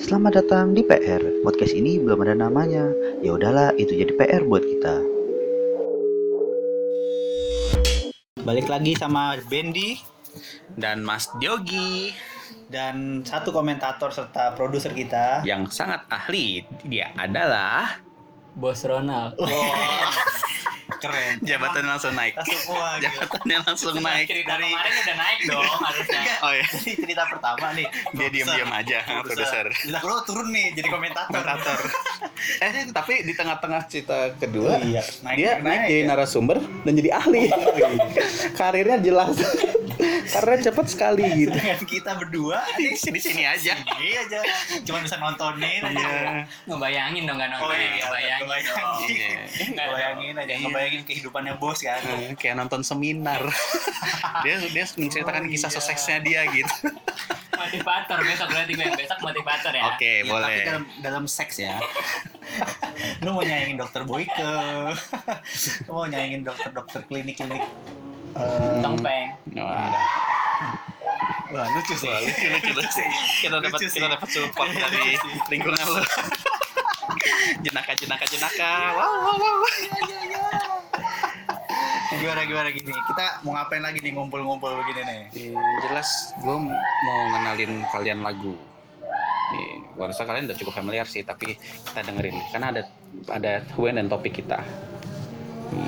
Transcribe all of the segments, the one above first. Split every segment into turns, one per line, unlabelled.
Selamat datang di PR. Podcast ini belum ada namanya. Ya udahlah, itu jadi PR buat kita.
Balik lagi sama Bendy
dan Mas Diogi
dan satu komentator serta produser kita.
yang sangat ahli dia adalah
Bos Ronald.
Keren.
jabatan langsung naik
Langsung wah, gila.
jabatannya langsung naik
dari kemarin udah naik dong harusnya.
oh ya
Jadi cerita pertama nih.
dia diam diam aja produser
Lah lo turun nih jadi komentator.
komentator eh tapi di tengah-tengah cerita kedua
Iya, naik-
dia
naik
naik jadi
ya.
narasumber dan jadi ahli karirnya jelas karirnya cepet sekali gitu
Dengan kita berdua
di sini sini aja
ini aja cuma bisa nontonin aja.
Iya.
Ngebayangin dong kan nonton.
Oh iya,
Ngebayangin dong. Iya.
ngebayangin.
Nggak
Ngebayangin aja, ngebayangin kehidupannya bos kan.
Eh, kayak nonton seminar dia dia menceritakan
Oh,
kisah
iya.
suksesnya dia gitu
Motivator besok berarti gue besok motivator ya.
oke
Ya, Tapi
boleh
dalam, dalam seks ya. lu mau nyaingin dokter Boyke. lu mau nyaingin dokter-dokter klinik-klinik. eh,
Tongpeng.
Wah.
wah, lucu sih.
Wah, lucu lucu lucu. Kita dapat
Lucu sih.
kita dapat support dari lingkungan lu. jenaka jenaka jenaka. Wow wow wow.
gimana gimana gini kita mau ngapain lagi nih ngumpul-ngumpul begini nih
Eh, jelas gue mau ngenalin kalian lagu. Eh, Gua rasa kalian udah cukup familiar sih, tapi kita dengerin karena ada ada hubungan dan topik kita. Hmm.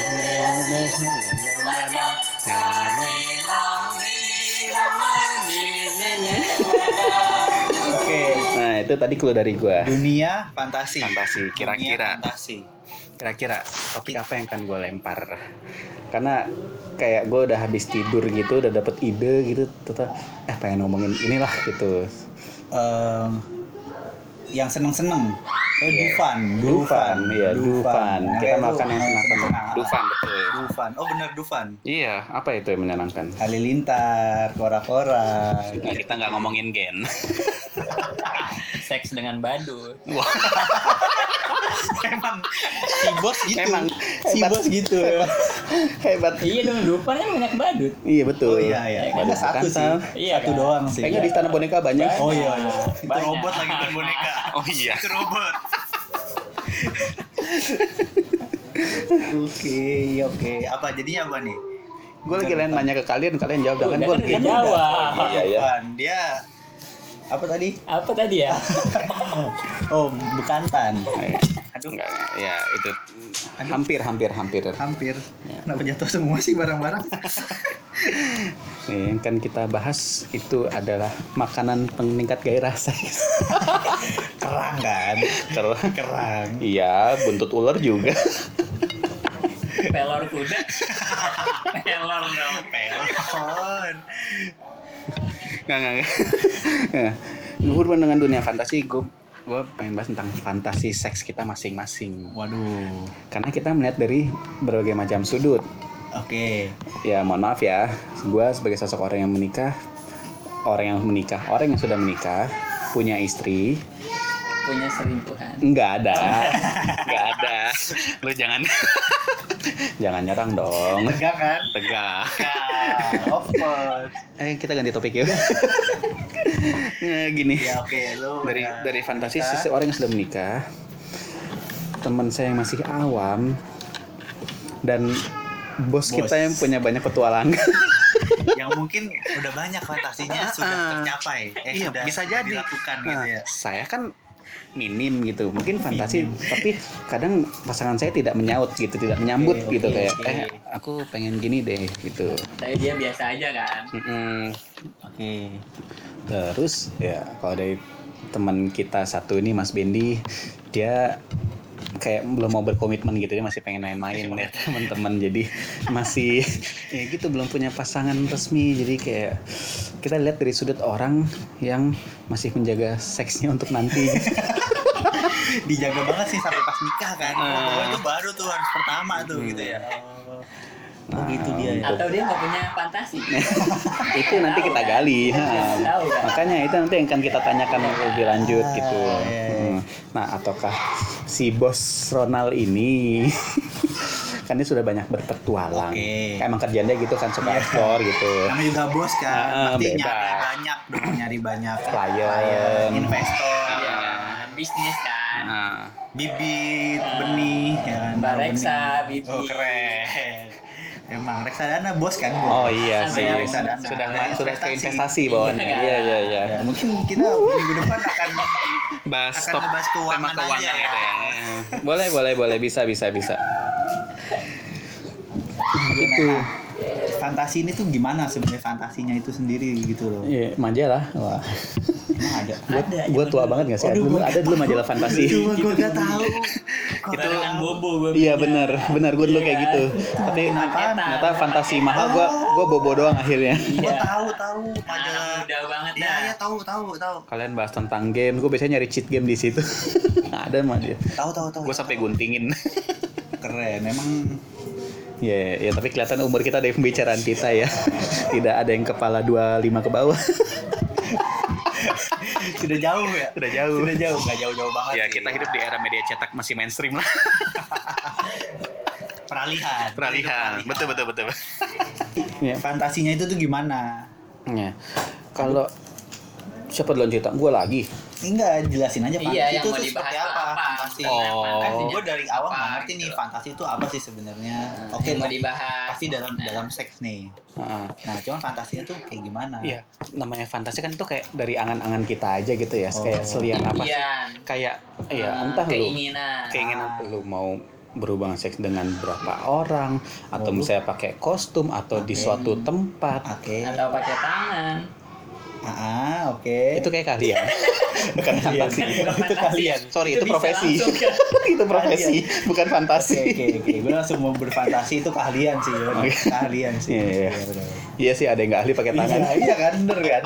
oke
Nah itu tadi clue dari gue.
dunia fantasi
Fantasi,
Dunia
kira-kira.
fantasi
Kira-kira topik apa yang akan gue lempar? Karena kayak gue udah habis tidur gitu, udah dapet ide gitu, tetap eh pengen ngomongin inilah gitu.
Em, yang seneng-seneng eh,
Iya.
Dufan
Dufan, iya Dufan.
Yang
Kita
kayak lu,
makan yang senang-senang. Dufan betul.
Dufan oh bener Dufan
Iya, apa itu yang menyenangkan?
Halilintar kora-kora
Nah, kita nggak ngomongin gen.
Seks dengan badut.
Wah,
emang si bos gitu
Emang.
si
Hebat.
bos gitu
hebat.
Iya dong, lupa kan banyak badut.
Iya betul.
oh iya iya
Iya,
ada
kan,
satu
kan,
sih
Sal?
Iya,
satu
kan?
doang sih
Kayaknya di Istana Boneka banyak.
Oh iya, iya. itu
Banyak.
robot lagi bukan boneka.
Oh iya.
Itu robot. oke, iya, oke. Apa jadinya apa nih?
Gue lagi lain nanya ke kalian, kalian jawab dah kan
Udah
gue
kan udah jawab.
Oh, iya, iya.
Bukan, Dia apa tadi?
Apa tadi ya?
Oh, bekantan.
Aduh, enggak, ya itu hampir hampir hampir.
Hampir. Kenapa jatuh semua sih barang-barang?
Nih, yang kan kita bahas itu adalah makanan peningkat gairah seks.
Kerang kan?
Ter-
Kerang.
Iya, buntut ular juga.
Pelor kuda. Pelor dong.
Pelon.
Nggak, nggak, nggak. Gue berhubungan dengan Ya, dunia fantasi, gue gue pengen bahas tentang fantasi seks kita masing-masing.
Waduh.
Karena kita melihat dari berbagai macam sudut.
Oke.
Ya mohon maaf ya, gue sebagai sosok orang yang menikah, orang yang menikah, orang yang sudah menikah, punya istri,
Punya selingkuhan.
nggak ada, nggak ada. Lu jangan, jangan nyerang dong.
Enggak kan?
Tegak.
Enggak. Of course.
Eh kita ganti topik yuk. Nah, gini.
Ya oke, lu
dari
udah-
dari fantasi
kita-
seseorang yang sudah menikah teman saya yang masih awam dan bos,
Bos. Gitu
kita yang punya banyak petualangan
yang mungkin udah banyak fantasinya
Ah.
sudah tercapai eh,
Iya,
sudah
bisa jadi.
dilakukan gitu ya
saya kan minim gitu mungkin fantasi tapi kadang pasangan saya tidak menyaut gitu tidak menyambut
Oke,
gitu
oke,
kayak
oke.
eh aku pengen gini deh gitu
Tapi dia biasa aja kan.
Mm-mm.
oke
terus ya kalau dari teman kita satu ini Mas Bendi dia kayak belum mau berkomitmen gitu dia masih pengen main-main ya teman-teman jadi masih ya gitu belum punya pasangan resmi jadi kayak kita lihat dari sudut orang yang masih menjaga seksnya untuk nanti
dijaga banget sih sampai pas nikah kan
Ah. Iya.
Pokoknya itu baru tuh harus pertama tuh gitu ya
Nah.
oh gitu dia ya
Atau dia nggak punya fantasi.
itu nanti kita gali
Iya,
ha.
Tahu, kan?
makanya itu nanti yang akan kita tanyakan lebih lanjut gitu
Ah, iya, iya.
Hmm. nah ataukah si bos Ronald ini kan dia sudah banyak berpetualang.
Oke.
Emang kerjaan dia gitu kan suka
Iya.
explore gitu.
Namanya juga bos kan,
Ah,
pasti
bebas.
nyari banyak dong, nyari banyak
Klien.
investor,
Iya, kan? bisnis kan.
Ah.
Nah,
bibit, benih, ya kan.
Mbak
benih.
Reksa, Bibi.
Oh keren. Emang reksadana bos kan bos.
oh iya
Sama
sih.
yang
reksadana.
Sudah
Ada
sudah
investasi.
ke investasi bawaan.
Iya.
Iya iya iya.
Ya, mungkin kita minggu depan akan
Bahas
Akan
top
ngebahas keuangan
tema
aja
keuangan
ya.
gitu ya. Boleh boleh boleh bisa bisa bisa. Gitu. Itu.
fantasi ini tuh gimana sebenarnya fantasinya itu sendiri gitu loh.
Iya, majalah. Wah.
Emang ada.
Ada.
Gua tua banget gak sih? Ada dulu, ada dulu majalah fantasi.
Cuma gue gak tahu.
Itu kan bobo gue.
Iya benar, benar gue dulu kayak gitu. Tapi
Kenapa?
ternyata fantasi mahal gue gue bobo doang akhirnya.
Gue
Iya.
tahu tahu
Anak
majalah.
muda banget
Iya
dah.
iya tahu tahu tahu.
Kalian bahas tentang game, gue biasanya nyari cheat game di situ. Nggak ada ya. mah dia.
Tahu tahu tahu.
Gue sampai guntingin.
keren emang
Ya, ya tapi kelihatan umur kita dari pembicaraan kita ya. Tidak ada yang kepala 25 ke bawah.
sudah jauh ya.
Sudah jauh.
Sudah jauh nggak jauh-jauh banget.
Ya,
sih.
kita hidup di era media cetak masih mainstream lah.
peralihan.
Peralihan. Betul, betul, betul. Ya,
Fantasinya itu tuh gimana?
ya. Kalau siapa duluan cerita? Gue lagi.
Enggak, jelasin aja fantasi
Iya, yang
itu
mau
tuh
dibahas tuh
seperti apa,
apa? Iya,
fantasi.
Oh.
Kan
Fantasinya
gue dari awal
apa
nggak ngerti
gitu
nih
loh.
fantasi itu apa sih sebenarnya?
Oke,
Oke, nah,
mau dibahas. Iya.
pasti dalam dalam seks nih.
Heeh.
Nah, cuman fantasinya tuh kayak gimana?
Iya, namanya fantasi kan itu kayak dari angan-angan kita aja gitu ya,
Oh.
kayak selian apa sih?
Impian.
Kayak ya
Eh,
entah lu
Iya. Keinginan.
keinginan lu mau berhubungan seks dengan berapa orang atau
Waduh.
misalnya pakai kostum atau di
Oke.
suatu tempat.
Oke.
Atau pakai tangan.
Ah, oke.
Itu kayak kalian. Bukan fantasi.
Bukan
itu
fantasi.
kalian. Sorry, itu,
bisa
profesi.
langsung ya. ke-
itu profesi, bukan fantasi.
Oke, oke, oke. Gue langsung mau berfantasi itu keahlian sih, bener.
Oke.
keahlian sih.
Iya, iya.
Iya, bener.
Iya sih ada yang nggak ahli pakai tangan.
Iya, iya kan, bener kan.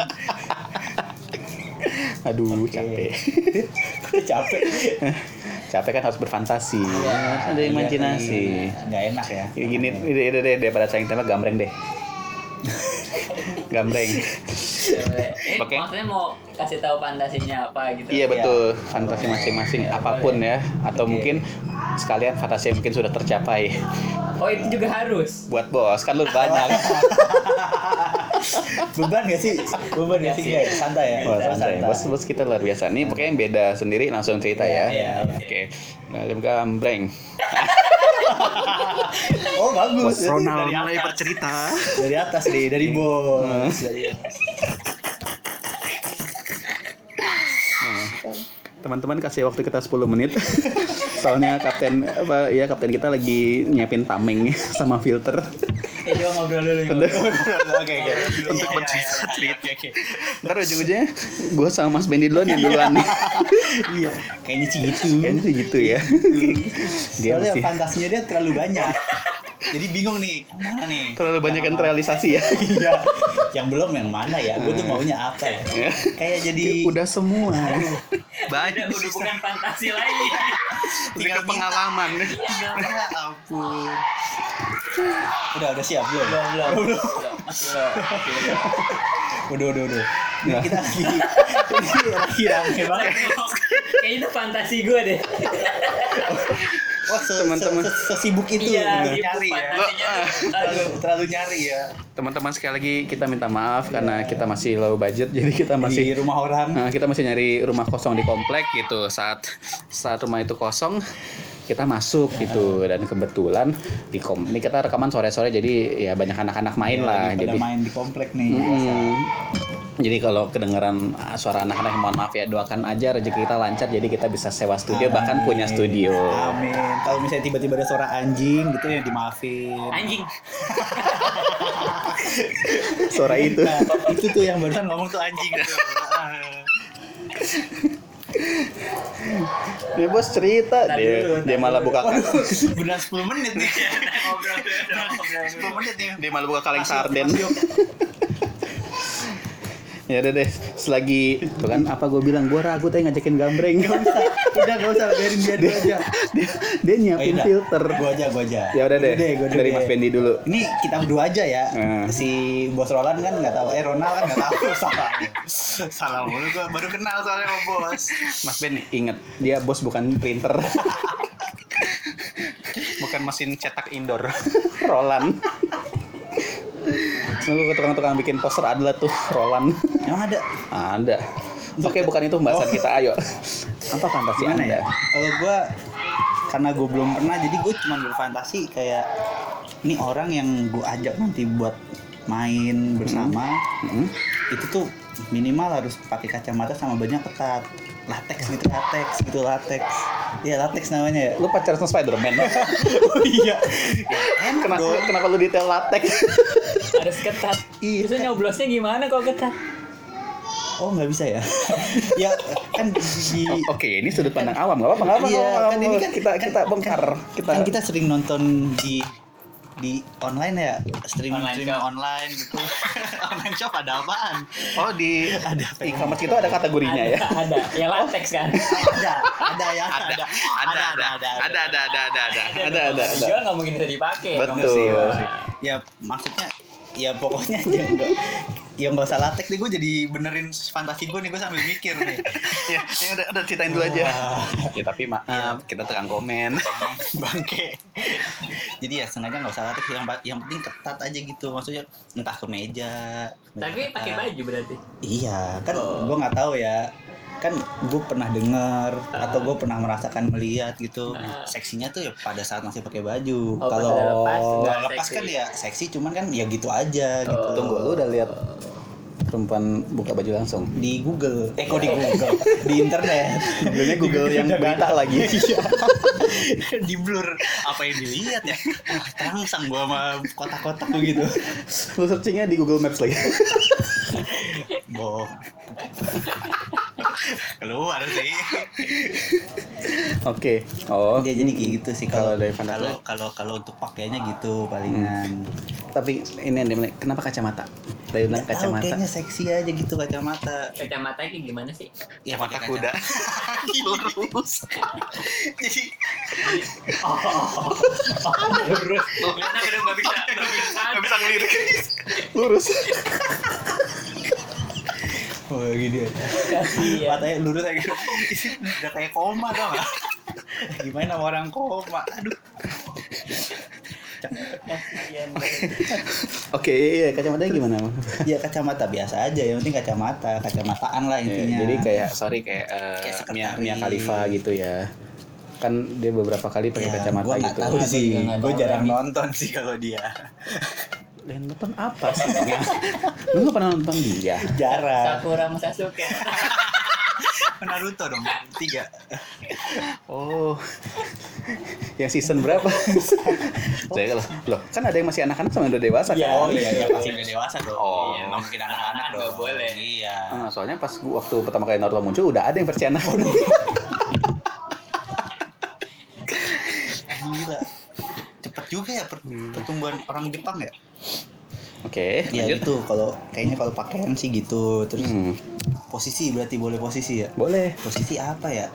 Aduh,
Oke.
capek.
Capek.
Capek kan harus berfantasi. kan? ada
Iya,
imajinasi.
iya. Nggak enak ya.
Ya, Gini, udah udah deh, daripada sayang tema gambreng deh. gambreng.
Eh,
Pakai-
maksudnya mau kasih tahu fantasinya apa gitu.
Iya betul, fantasi masing-masing apapun ya. Atau
Oke.
mungkin sekalian fantasi yang mungkin sudah tercapai.
Oh, itu juga harus.
Buat bos, kan lu banyak.
Iya. Beban gak sih? Beban gak sih? Iya, santai ya.
Wah, santai. Bos, bos kita luar biasa. Nih pokoknya yang beda sendiri langsung cerita ya.
Iya, iya.
Oke. Nah, dia gambreng.
Oh, bagus. Jadi dari
mulai bercerita.
dari atas nih dari
Iya.
bos Iya, dari
Teman-teman kasih waktu kita 10 menit. Soalnya kapten apa ya kapten kita lagi nyiapin tameng sama filter.
Eh,
Iya,
coba ngobrol dulu.
oke oke
Iya.
Iya,
Untuk bercerita. Ntar ujung-ujungnya gue sama Mas Bendy duluan yang duluan nih.
iya kayaknya sih gitu
Kayaknya sih gitu ya. Dia
soalnya
masih-
fantasinya dia terlalu banyak jadi bingung nih yang mana nih
Terlalu banyak yang terrealisasi ya.
iya yang belum yang mana ya gue tuh maunya apa ya
Iya.
kayak jadi
Udah semua.
Udah,
Banyak
udah bukan fantasi lagi.
tinggal pengalaman.
Iya,
ya ampun udah udah siap belum
belum, belum. Belum, masih belum. Oke, belum.
udah udah udah ini
Nah.
kita lagi lagi rame
Eh,
banget
Kayaknya itu fantasi gue deh.
wah Oh, se- se-
Teman-teman.
se- sesibuk itu
Iya,
bener.
itu
nyari ya
fantasinya tuh.
terlalu,
Aduh.
terlalu nyari ya
Teman-teman sekali lagi kita minta maaf karena kita masih low budget jadi kita
di
masih
rumah orang
Nah, kita masih nyari rumah kosong di komplek gitu. Saat saat rumah itu kosong, kita masuk gitu dan kebetulan di kom ini kita rekaman sore-sore jadi ya banyak anak-anak main lah
Iya, Lagi pada
jadi.
main di komplek nih
Mm-mm. Mm-hmm. Jadi kalau kedengeran ah, suara anak-anak mohon maaf ya doakan aja rezeki kita lancar jadi kita bisa sewa studio bahkan punya studio.
Amin. Kalau misalnya tiba-tiba ada suara anjing gitu yang dimaafin.
Anjing.
Suara itu.
Nah, itu tuh yang barusan ngomong tuh anjing gitu. tuh.
Dia bos cerita
Tadi dulu,
dia,
tadi
dia malah buka
Benar 10 menit nih.
Ngobrol dulu, ngobrol dulu.
10 menit nih.
dia malah buka kaleng
Masuk,
sarden.
masuk.
Ya udah deh, selagi itu kan apa gue bilang gue ragu tadi ngajakin gambreng.
Gak usah. Udah gak usah biarin dia dulu aja.
dia, dia nyiapin
Oh, iya.
filter.
Gua aja, gua aja.
Ya udah deh,
gua dulu
dari
deh.
Mas Fendi dulu.
Ini kita berdua aja ya.
Hmm.
Si Bos Roland kan nggak tahu, eh Ronald kan nggak tahu salah. salah mulu gua baru kenal soalnya sama Bos.
Mas Ben inget, dia bos bukan printer. bukan mesin cetak indoor Roland Semua ke tukang-tukang bikin poster adalah tuh Roland
Emang ada?
Ada Oke bukan itu pembahasan kita ayo Apa fantasi
Gimana
anda?
ya? Kalau gue karena gue belum pernah, jadi gue cuma berfantasi kayak ini orang yang gue ajak nanti buat main bersama
Hmm?
itu tuh minimal harus pakai kacamata sama banyak ketat latex gitu latex gitu latex ya latex namanya ya
Lu pacaran sama Spiderman?
oh iya
kenapa, kenapa lu detail latex?
harus ketat
Iya.
itu nyoblosnya gimana kalau ketat
oh nggak bisa ya ya kan di
Oke ini sudut pandang awam Gak apa-apa gak apa-apa,
Iya,
gak apa-apa.
kan ini kan-
Kita, kita bongkar kita,
kan kita sering nonton di di online ya streaming
Online
streaming
shop.
online gitu online shop ada apaan
Oh di
Ada.
e-commerce itu ada kategorinya ya?
ada ya latex kan
ada ada ya ada
ada ada ada ada ada ada ada ada ada ada ada
Dijual nggak mungkin bisa dipakai
betul
ya maksudnya ya pokoknya aja enggak ya nggak usah latex deh gue jadi benerin fantasi gue nih gue sambil mikir nih
ya ya udah udah ceritain dulu aja ya tapi maaf kita tukang komen
bangke jadi ya sengaja nggak usah latex yang, yang penting ketat aja gitu maksudnya entah ke meja
tapi pakai baju berarti
iya kan
Oh.
gue nggak tahu ya kan gue pernah dengar
Ah.
atau gue pernah merasakan melihat gitu seksinya tuh ya pada saat masih pakai
Oh,
baju
pas
kalau
udah lepas, udah
nggak lepas
seksi.
kan ya seksi cuman kan ya gitu aja gitu
tunggu lu udah lihat perempuan buka baju langsung
di Google eh kok di Google di internet Iya.
Google-nya Google yang berita lagi
di blur apa yang dilihat ya terangsang gua sama kotak-kotak gitu
lu searchingnya di Google Maps lagi
boh keluar sih
oke oh
ya jadi kayak gitu sih
Kalau
kalau
dari Hmm. fantasi.
kalau kalau kalau untuk pakaiannya gitu palingan
tapi ini yang dimulai kenapa kacamata dari bilang
Nggak tahu,
kacamata
Oh, kayaknya seksi aja gitu kacamata
kacamata kayak gimana sih
ya
mata kuda
lurus jadi
Karena udah Oh. nggak bisa, nggak bisa.
nggak bisa ngelirik lurus
oh
gitu
gini
ya.
aja
kasihan
matanya lurus aja Iya. udah kayak koma dong gimana sama orang koma aduh
kasihan
oke iya, iya, kacamatanya gimana Bang?
ya kacamata biasa aja yang penting kacamata kacamataan lah
Ya,
intinya
jadi kayak sorry kayak, eh,
Kayak
Mia
sekretaris.
Mia Khalifa gitu ya. Kan dia beberapa kali pakai kacamata
gue
gitu.
Ya, tahu
Gua
sih
juga nggak
gue
tahu
jarang
lagi.
nonton sih kalau dia
Dan nonton apa sih? Mia? Lu nggak pernah nonton dia?
jarang
Sakura sama Sasuke
Naruto dong tiga
Oh. yang season berapa? Saya kalau loh, kan ada yang masih anak-anak sama yang udah dewasa kan?
Iya,
oh iya iya pasti udah dewasa dong
Oh.
Iya, nggak mungkin anak-anak
Nggak
dong
boleh.
iya
Ah, soalnya pas gua waktu pertama kali Naruto muncul udah ada yang versi anak.
gila cepet juga ya per- pertumbuhan orang Jepang ya
Oke,
ya
lanjut.
gitu kalau kayaknya kalau pakaian sih gitu terus
Hmm,
posisi berarti boleh posisi ya
boleh.
posisi apa ya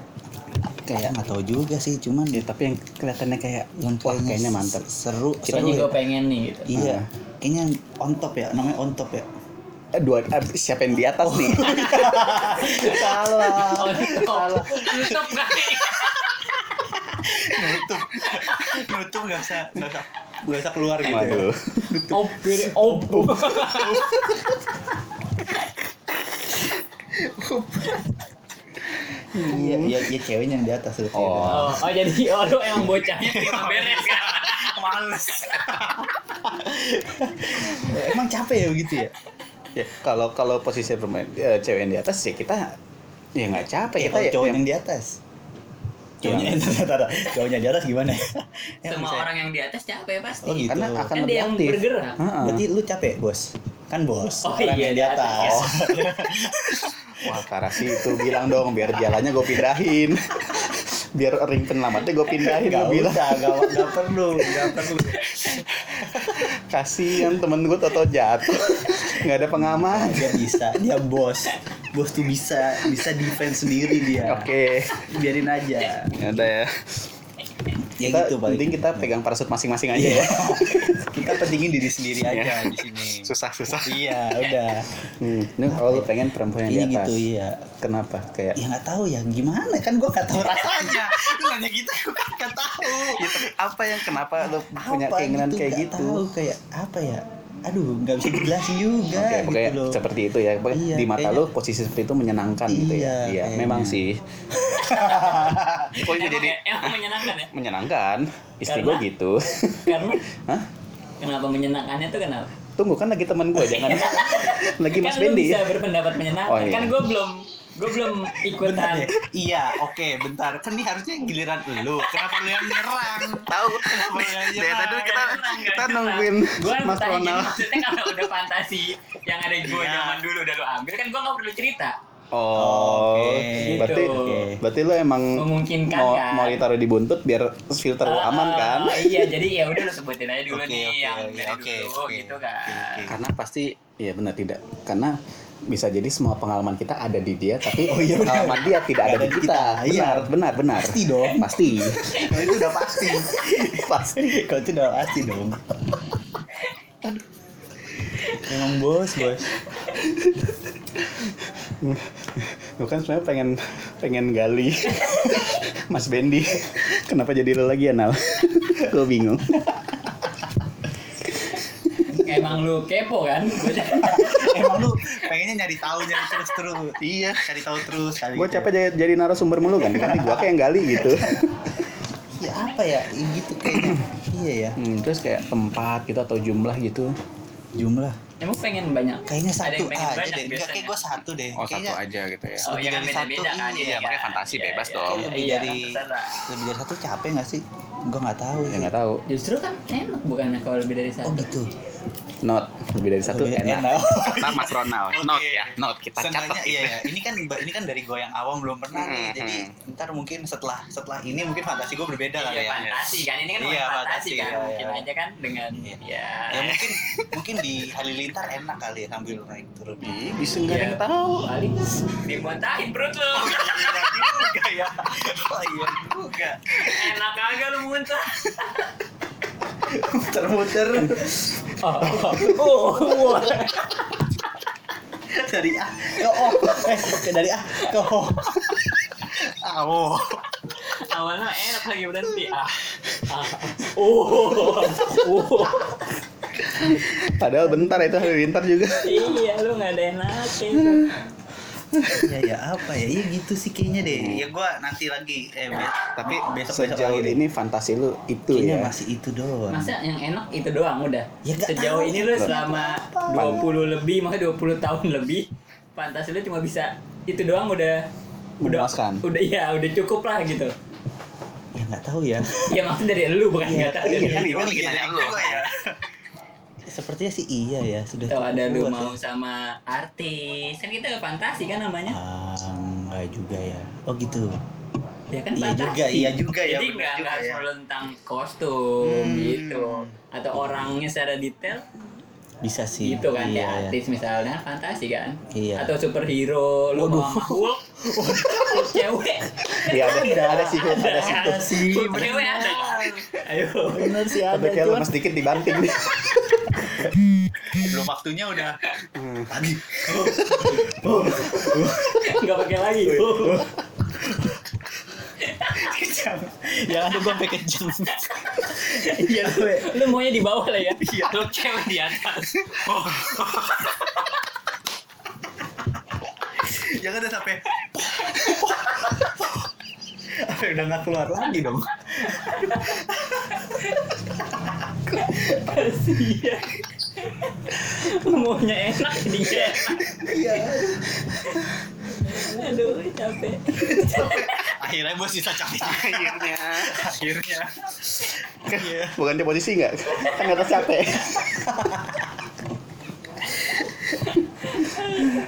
kayak nggak tahu juga sih cuman
Ya, tapi yang kelihatannya kayak
yang
wah, kayaknya mantap.
seru
kita
seru
juga
ya.
pengen nih gitu
Iya,
Nah.
kayaknya on top ya, namanya on top ya.
Eh, Dua, eh, siapa yang di atas nih?
Oh, Salah.
Oh, iya. Salah.
Tutup kali.
Nutup. Nutup nggak usah, nggak usah, nggak usah keluar gitu. ya.
Waduh.
Oh, beri- oh, oh.
Iya, iya, iya ceweknya yang di atas tuh.
Oh.
Oh, oh, jadi oh, lu emang bocahnya
Nggak beres kan.
Males. Emang capek ya begitu ya?
ya kalau kalau posisi pemain eh, cewek yang di atas ya kita ya nggak capek kita
Ya kalau
ya,
cowok
ya-
yang di atas. Cowoknya yang cowoknya di atas gimana ya? Emang
Semua
saya-
orang yang di atas capek pasti.
Oh gitu.
karena akan
kan
lebih
dia yang
iya. aktif
bergerak
Heeh.
Berarti lu capek, Bos. Kan bos,
Oh,
orang
iya,
yang di
di atas.
atas.
wah Karasi itu bilang dong biar jalannya gue pindahin biar ring penyelamatnya gue pindahin
Gak
gue bilang
usah, gak, gak perlu, gak perlu.
kasihan temen gue toto jatuh nggak ada pengaman
Dia bisa, dia bos. Bos tuh bisa, bisa defense sendiri dia.
oke
Biarin aja.
ya udah ya
Ya
kita
gitu, Iya. Pak.
penting kita pegang parasut masing-masing aja ya.
kita pentingin diri sendiri
Iya.
aja di sini
Susah-susah.
iya udah
Hmm. Ini kalau lu pengen perempuan
ini
yang di atas.
gitu iya
Kenapa? Kayak
ya nggak tahu ya gimana kan gue nggak tahu rasanya Lu nanya gitu gue nggak tahu
Gitu. apa yang kenapa lu punya
Apa
keinginan kayak
nggak
gitu?
tahu, kayak apa ya aduh nggak bisa dijelasin
Oke,
juga gitu
pokoknya
loh
seperti itu ya. Pokoknya
Iya,
di mata
kayaknya-
lu posisi seperti itu menyenangkan gitu ya.
Iya,
Iya,
kayaknya.
memang sih. Pokoknya
Emang,
jadi
emang menyenangkan ya?
menyenangkan. Istri gue
Karena-
gitu.
Karena
Hah?
Kan? kenapa menyenangkannya tuh kenapa?
Tunggu kan lagi teman gue jangan
Iya.
lagi Mas
kan lu
Bendi.
bisa berpendapat menyenangkan.
Oh, iya.
Kan gue belum gue belum
Bentar
ikutan.
ya. Iya, oke, bentar. Kan ini harusnya giliran lu. Kenapa lu yang nyerang?
Tahu.
Kenapa lu yang
Dari tadi
nyerang?
kita
Nyerang,
kita
nyerang.
nungguin
Gua
Mas
tanya gini,
Ronald.
maksudnya kalau udah fantasi yang ada gue
Iya.
zaman dulu udah lu ambil kan gue nggak perlu cerita.
Oh,
Oke.
berarti
Gitu.
berarti lo emang
Memungkinkan,
mau,
kan?
mau ditaruh di buntut biar filter lu
Ah,
aman kan?
Iya, jadi ya udah lu sebutin aja dulu
Oke,
nih
oke,
yang
oke,
dari
oke,
dulu
oke,
gitu
oke,
kan.
oke.
Karena pasti ya benar tidak. Karena bisa jadi semua pengalaman kita ada di dia tapi
Oh, iya, benar.
pengalaman dia tidak ada,
Ada
di
di
kita.
kita, iya.
Benar, benar, benar.
Pasti dong.
Pasti.
Kalau itu udah pasti.
pasti.
Kalau itu udah pasti dong. Emang bos, bos.
Bukan kan sebenarnya pengen pengen gali. Mas Bendi, kenapa jadi lo lagi ya Nal? Gue bingung.
Emang lu kepo kan?
Emang lu pengennya nyari tahu nyari terus terus. Iya, cari tahu terus. kali
Gue
gitu.
capek jadi, jadi narasumber mulu kan. Nanti gue kayak yang gali gitu.
Ya apa ya? Ya Gitu kayaknya. iya ya.
Hmm, terus kayak tempat gitu atau jumlah gitu.
Jumlah.
Emang pengen banyak.
Kayaknya
Ada
satu
yang pengen
aja
banyak
deh. Enggak
biasanya.
kayak gue satu deh. Kayaknya
aja gitu ya.
Oh,
Lebih
yang
dari
beda-beda
satu,
kan
iya,
jadi
makanya
kan.
fantasi
Iya,
bebas
iya.
dong.
lebih
ya. Iya,
dari
terserah.
lebih dari satu capek nggak sih? Gue nggak tahu.
Ya
sih.
nggak tahu.
Justru kan enak bukannya kalau lebih dari
Oh
satu.
gitu.
Not lebih dari satu
Lebih
enak. Kata Mas Ronald.
Oke.
Not ya. Not kita
Seenggaknya
catat.
iya ya. Ini kan ini kan dari gue yang awam belum pernah nih.
Hmm,
Jadi ntar mungkin setelah setelah ini mungkin fantasi gue berbeda lah
Iya,
ya.
fantasi kan ini kan
Iya,
bukan
fantasi,
fantasi kan
iya,
mungkin
iya.
aja kan dengan
Iya.
ya.
Ya mungkin mungkin di Halilintar enak kali ya sambil naik turun.
Ih, Bisa nggak ada yang
Iya.
tahu.
Paling
Dimontain perut lu.
Iya juga ya. Oh iya juga.
Enak kagak lu muntah.
Muter-muter
oh, oh, oh, oh.
dari A ke O. Eh, ke dari A ke O. Awo.
Awalnya enak lagi berhenti. Ah.
Oh, oh.
Padahal bentar itu halilintar juga.
Iya, lu nggak ada enaknya.
Ya ya apa ya? Iya gitu sih kayaknya deh. Ya gue nanti lagi eh be- tapi besok besok
Sejauh
lagi Iya, deh.
ini fantasi lu itu
Kayaknya
ya.
masih itu doang.
Masa yang enak itu doang udah.
Gitu. Ya, nggak
Sejauh
tahu.
ini lu selama 20 lebih, makanya 20 tahun lebih, fantasi lu cuma bisa itu doang udah udah
Memuaskan.
udah ya udah cukup lah gitu
Ya nggak tahu ya.
ya maksud dari lu bukan nggak
Iya,
tahu dari
iya,
lu.
iya,
lagi
iya,
nanya
iya,
lu.
gua ya. Sepertinya sih iya ya sudah.
Atau Oh, ada lu
cukup
mau
buat ya.
sama artis kan kita fantasi kan namanya
Ah, nggak juga ya. Oh gitu.
ya kan
Iya
fantasi.
juga, iya juga ya,
jadi nggak
benar juga
nggak harus
ya.
melulu tentang kostum
Hmm.
gitu atau orangnya secara detail
Bisa sih.
gitu kan
iya,
ya artis misalnya fantasi kan
Iya.
atau superhero lu mau
Waduh.
sama Hulk Hulk cewek
Iya ada ada sih ada sih.
Ada sih.
Hulk cewek ada kan ayo
Bener sih
Tapi kayak lemas dikit dibanting.
Belum waktunya udah. Pagi.
nggak pakai lagi
Yang ada gue pakai jam. Iya gue.
lu maunya di bawah lah ya
Lu cewek di atas.
Jangan ada sampai. Sampai udah nggak keluar lagi dong.
kasihan lu maunya enak dia
Iya.
aduh capek
Akhirnya bos bisa capek. Akhirnya. Akhirnya. Iya.
Bukan di posisi nggak? Kan atas capek.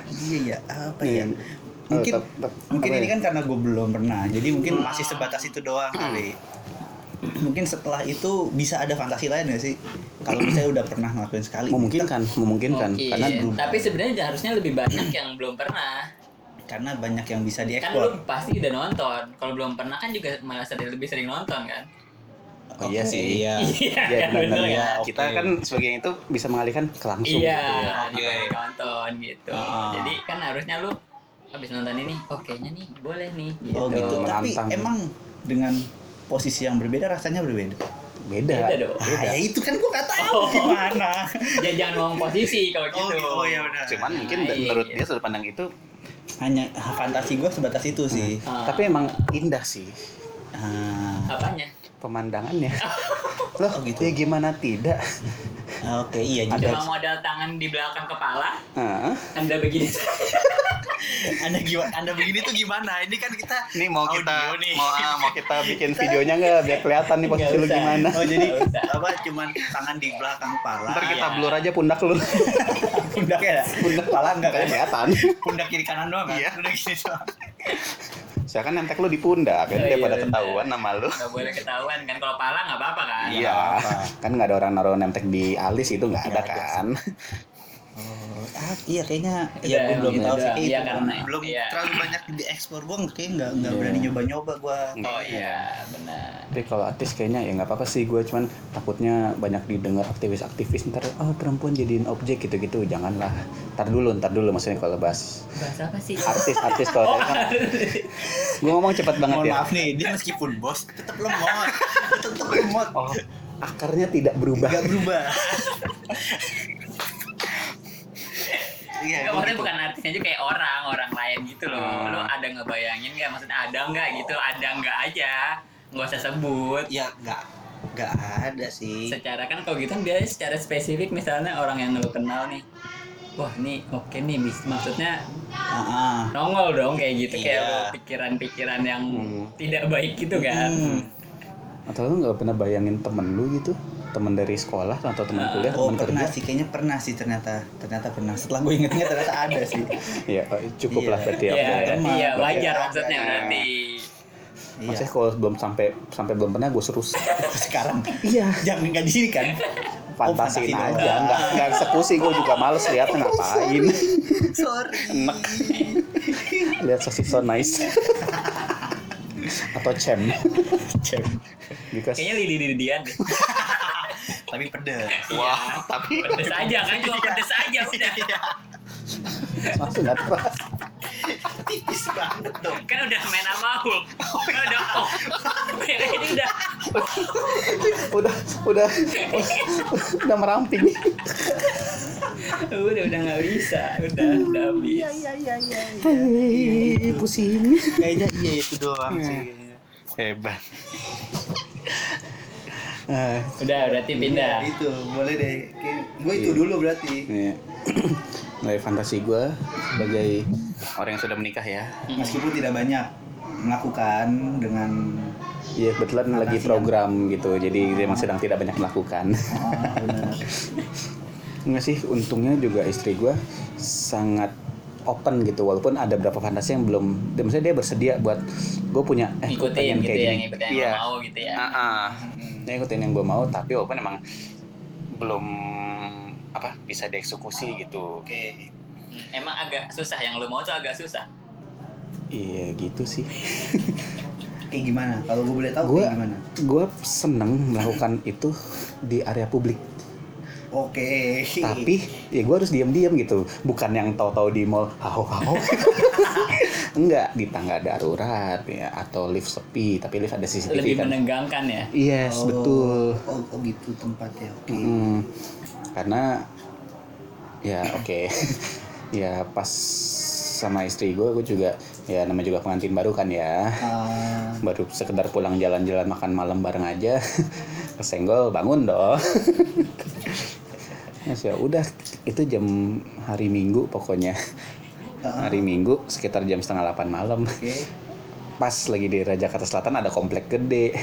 Iya ya apa ya?
Hmm.
Mungkin
Oh, tap- tap-
mungkin
apa
ini
ya? Hmm.
kan karena gue belum pernah. Jadi mungkin masih sebatas itu doang kali. Mungkin setelah itu bisa ada fantasi lain gak sih? Kalau misalnya udah pernah ngelakuin sekali.
memungkinkan memungkinkan
Mungkin.
kan, karena dulu
tapi sebenarnya harusnya lebih banyak yang belum pernah
Karena banyak yang bisa
kan lu
diekspor.
pasti udah nonton kalau belum pernah kan juga malah sering lebih sering nonton kan
Oh iya
Oke.
sih. Iya.
Iya,
Iya benar.
bener
Iya,
ya.
Kita
Oke.
kan sebagai yang itu bisa mengalihkan ke langsung.
Iya,
gitu ya.
Oke.
makanya nonton gitu.
Ah.
Jadi kan harusnya lu habis nonton ini, oh kayaknya nih boleh nih. Gitu.
Oh gitu. Tapi
Iya, menantang.
emang dengan posisi yang berbeda rasanya berbeda.
Beda. Nah, iya.
Beda dong.
Ah, ya itu kan gua nggak tahu gimana.
Ya jangan ngomong posisi
Oh,
kalau Oh. gitu.
iya,
benar.
Cuman mungkin
Nah, iya,
menurut
iya.
dia sudut pandang itu,
hanya fantasi gua sebatas itu sih.
Ah,
tapi emang indah sih
Ah,
Hmm.
apanya?
pemandangannya. Loh,
Oh,
gitu.
gitu.
ya gimana tidak?
Oke, iya
Cuma
juga.
modal tangan di belakang kepala,
Heeh.
anda begini.
Anda gimana? Anda begini tuh gimana? Ini kan kita
Ini mau
Audio
kita
nih.
mau ah, mau kita bikin videonya nggak biar kelihatan nih posisi
Nggak
lu
usah.
gimana.
Oh jadi
Nggak usah.
apa cuman tangan di belakang pala.
Ntar kita
ya.
blur aja pundak lu.
pundaknya ya?
pundak
pala enggak kan?
Nggak kelihatan.
Pundak kiri kanan doang kan?
Iya.
Udah gini doang.
Saya kan nemtek lu di pundak, kan
Oh, iya,
daripada
benar.
ketahuan nama lu.
Gak boleh ketahuan kan kalau pala nggak apa-apa kan?
Iya, kan nggak ada orang naruh nemtek di alis itu nggak ada
Iya, Nggak ada.
kan?
Oh, ah, iya kayaknya
Iya,
iya, gua belum
gitu
tahu sih
doang.
kayak
Iya,
itu
karena-
belum
iya.
terlalu banyak diekspor gua kayak nggak nggak berani nyoba-nyoba gua.
Oh iya, benar.
Tapi kalau artis kayaknya ya nggak apa-apa sih gue cuman takutnya banyak didengar aktivis-aktivis ntar oh perempuan jadiin objek gitu-gitu janganlah ntar dulu ntar dulu maksudnya kalau bahas
Bahasa apa sih?
artis-artis kalau tadi kan gue ngomong cepat banget
Mohon
ya
maaf nih, dia meskipun bos tetap lemot, tetap lemot.
oh akarnya tidak berubah
Gak berubah. Iya,
Enggak,
gua
maksudnya
gitu.
bukan artisnya aja kayak orang, orang lain gitu loh.
Hmm.
Lu ada ngebayangin nggak? Maksudnya ada nggak gitu? Ada nggak aja? Nggak usah sebut.
Ya nggak nggak ada sih.
Secara kan kalau gitu kan biasanya secara spesifik misalnya orang yang lu kenal nih. Wah nih oke nih bis maksudnya
Ah, ah.
nongol dong kayak gitu kayak
Iya.
lu pikiran-pikiran yang
Hmm.
tidak baik gitu kan.
Hmm.
atau lu nggak pernah bayangin temen lu gitu temen dari sekolah atau temen kuliah
Oh
temen
pernah
kerja
sih, kayaknya pernah sih ternyata ternyata pernah. Setelah gue ingetnya ternyata ada sih.
ya oh, cukup lah
Iya.
berarti
Iya,
ya, udah ya.
berarti ya
Berarti
wajar
ada.
maksudnya berarti.
Iya.
maksudnya kalau belum sampai sampai belum pernah gue seru
Sekarang
iya
jangan nggak di sini kan?
Oh, fantasiin
fantasi
aja
doang.
nggak nggak eksekusi gue juga males lihat ngapain
Sorry.
enak lihat sosis so nice atau cem
Cem.
because
Kayaknya lidi lidian deh.
Tapi pedes.
Wah, tapi Iya. pedes aja kan cuma pedes aja udah.
masuk nggak terasa
Tipis banget dong.
kan udah main sama Hulk kan udah oh ini udah
udah udah udah meramping
udah udah nggak bisa udah udah habis
Hei, pusing
Kayaknya iya itu doang sih.
hebat Eh,
udah berarti pindah
Itu boleh deh. Gue itu dulu berarti.
ini dari fantasi gue sebagai orang yang sudah menikah ya
Meskipun tidak banyak melakukan dengan
Iya kebetulan lagi program gitu, jadi memang sedang tidak banyak melakukan.
ah,
Oh,
benar.
Enggak sih, untungnya juga istri gue sangat open gitu, walaupun ada beberapa fantasi yang belum, dia- maksudnya dia bersedia buat gue punya eh gua
ngikutin
pengen
gitu
kayak
ya
gini.
ngikutin yang
Iya.
lo mau gitu ya
Ah, ah. Dia ngikutin yang gue mau, tapi walaupun emang belum apa bisa dieksekusi gitu.
Oke.
Hmm, emang agak susah yang lo mau tuh agak susah
Iya gitu sih.
Kayak gimana? Kalau gue boleh tahu
Gua-
kayak gimana?
Gue seneng melakukan itu di area publik.
Oke.
tapi ya gue harus diam-diam gitu bukan yang tahu-tahu di mall hau hau enggak di tangga darurat ya atau lift sepi tapi lift ada CCTV
lebih
kan
menegangkan ya
yes
Oh,
betul
Oh, oh gitu tempatnya. Oke.
Mm, karena ya oke ya pas sama istri gue gue juga ya namanya juga pengantin baru kan ya
Ah,
baru sekedar pulang jalan-jalan makan malam bareng aja kesenggol bangun dong Terus ya udah itu jam hari minggu pokoknya
ah,
hari minggu sekitar jam setengah 8 malam
Oke.
pas lagi di Raja Jakarta Selatan ada komplek gede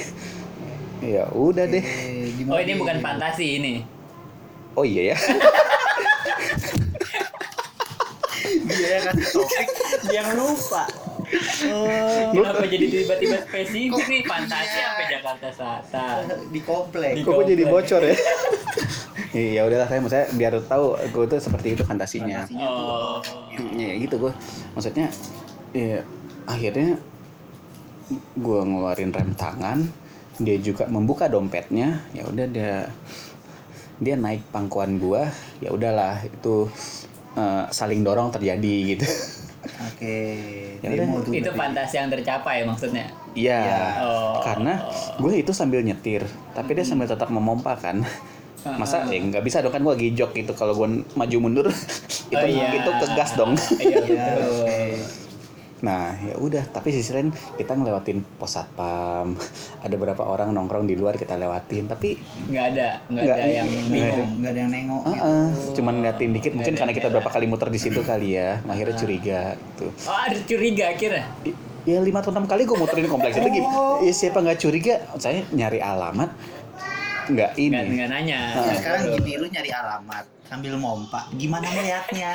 ya udah deh
oh
Eh, gimana
ini
nih?
bukan
Iya.
fantasi ini
oh iya ya
Dia yang kasih topik, dia yang lupa. Oh,
kenapa jadi tiba-tiba spesifik nih fantasi sampai Jakarta Selatan
di komplek.
Di-
iya? kok gue jadi
komplek.
bocor ya ya udahlah saya maksudnya biar tahu gue tuh seperti itu fantasinya
oh
ya gitu gue maksudnya ya akhirnya gue ngeluarin rem tangan dia juga membuka dompetnya ya udah dia dia naik pangkuan gua ya udahlah itu eh, saling dorong terjadi gitu
Oke.
Ya udah,
demo tuh
itu
berarti.
fantasi yang tercapai maksudnya
Iya,
Ya.
Oh.
karena gue itu sambil nyetir, tapi dia sambil tetap memompa kan.
Ah.
Masa ya nggak bisa dong kan gue lagi jog gitu kalau gue maju mundur itu
Oh, iya.
itu ke gas dong.
iya
Iya,
betul.
oke.
Nah ya udah, tapi sisi lain kita ngelewatin pos satpam, ada beberapa orang nongkrong di luar kita lewatin, tapi
nggak ada nggak
Nggak,
ada yang
nggak
Nggak ada,
bingung
nggak ada yang nengok.
ah,
gitu.
ah, cuman ngeliatin dikit mungkin
Nggak ada,
karena kita
nggak
berapa kali muter di situ kali ya, akhirnya curiga gitu.
oh ada curiga akhirnya
I- Ya lima atau enam kali gue muterin kompleks itu gitu. Ya, siapa nggak curiga? Saya nyari alamat nggak ini.
nggak nggak nanya
Nah, sekarang gini lu nyari alamat sambil mompa, gimana ngeliatnya?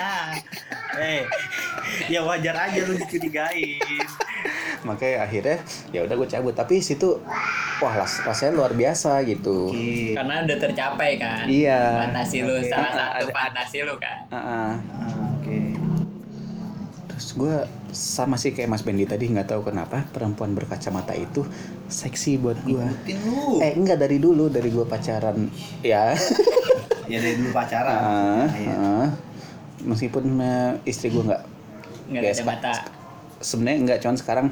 eh, ya wajar aja lu dicurigain.
makanya akhirnya ya udah gue cabut tapi situ wah ras rasanya luar biasa gitu
Oke.
karena udah tercapai kan
Iya.
fantasi lu
Oke.
salah satu
Ada-
fantasi lu kan
Ah, ah.
Ah, Oke.
terus gue sama sih kayak Mas Bendi tadi nggak tahu kenapa perempuan berkacamata itu seksi buat gue
Ngikutin lu.
eh enggak dari dulu dari gue pacaran ya
Ya dari dulu pacaran.
Ah,
Iya.
ah. meskipun eh, istri gue nggak
nggak
Ya,
ada mata
sebenarnya nggak cuman sekarang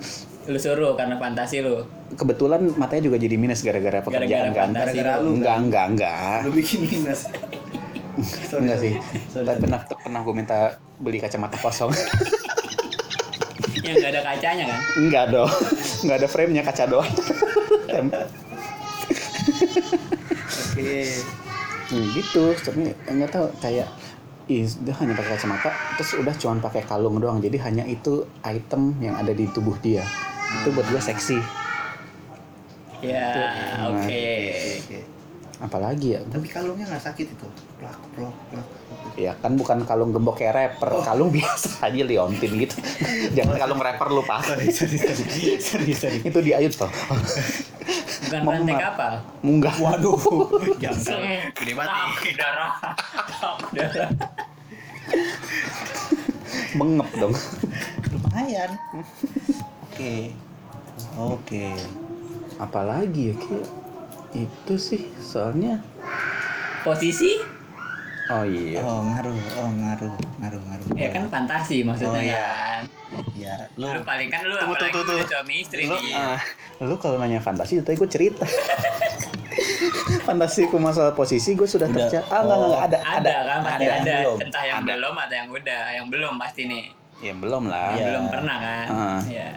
lu suruh karena fantasi lu
kebetulan matanya juga jadi minus gara-gara
Gara-gara
pekerjaan kan
fantasi
Gara-gara lu. lu kan?
enggak enggak enggak
Lu bikin minus. Sorry,
enggak sih
sorry.
tapi pernah pernah gue minta beli kacamata kosong
yang Ya, nggak ada kacanya kan
Enggak dong, enggak ada frame-nya kaca doang. Tem-
Oke.
Hmm, gitu, tapi enggak tahu kayak ih, dia hanya pakai kacamata, terus udah cuman pakai kalung doang. Jadi hanya itu item yang ada di tubuh dia. Itu buat gue seksi.
ya
Nah.
oke
Oke.
Apalagi ya?
Tapi kalungnya nggak sakit itu. Plak plak plak.
Ya kan bukan kalung gembok kayak rapper, kalung biasa aja liontin gitu. Jangan kalung rapper lu pak. Itu diayut toh.
bukan
Mama.
rantai kapal
Munggah.
Waduh. Jangan.
Gede banget. nih. darah.
Udah.
Mengep dong.
Lumayan. Oke. Oke.
Apalagi ya? Ki? Itu sih soalnya.
posisi
Oh iya.
Oh ngaruh, oh ngaruh, ngaruh, ngaruh.
ya kan fantasi maksudnya
Oh, iya.
kan
Ya, lu
Lu paling kan lu
Tunggu,
apalagi
tunggu, tunggu.
lu suami istri
Lu,
nih.
ah, lu kalau nanya fantasi, tadi gue cerita. Fantasiku masalah posisi gue sudah
Udah.
tercapai. Ah, enggak, enggak, enggak, ada,
ada kan pasti
ada yang
ada,
belum.
entah yang
Ada.
belum ada yang udah yang belum pasti nih
Ya belum lah.
Iya.
belum pernah kan
Ah.
ya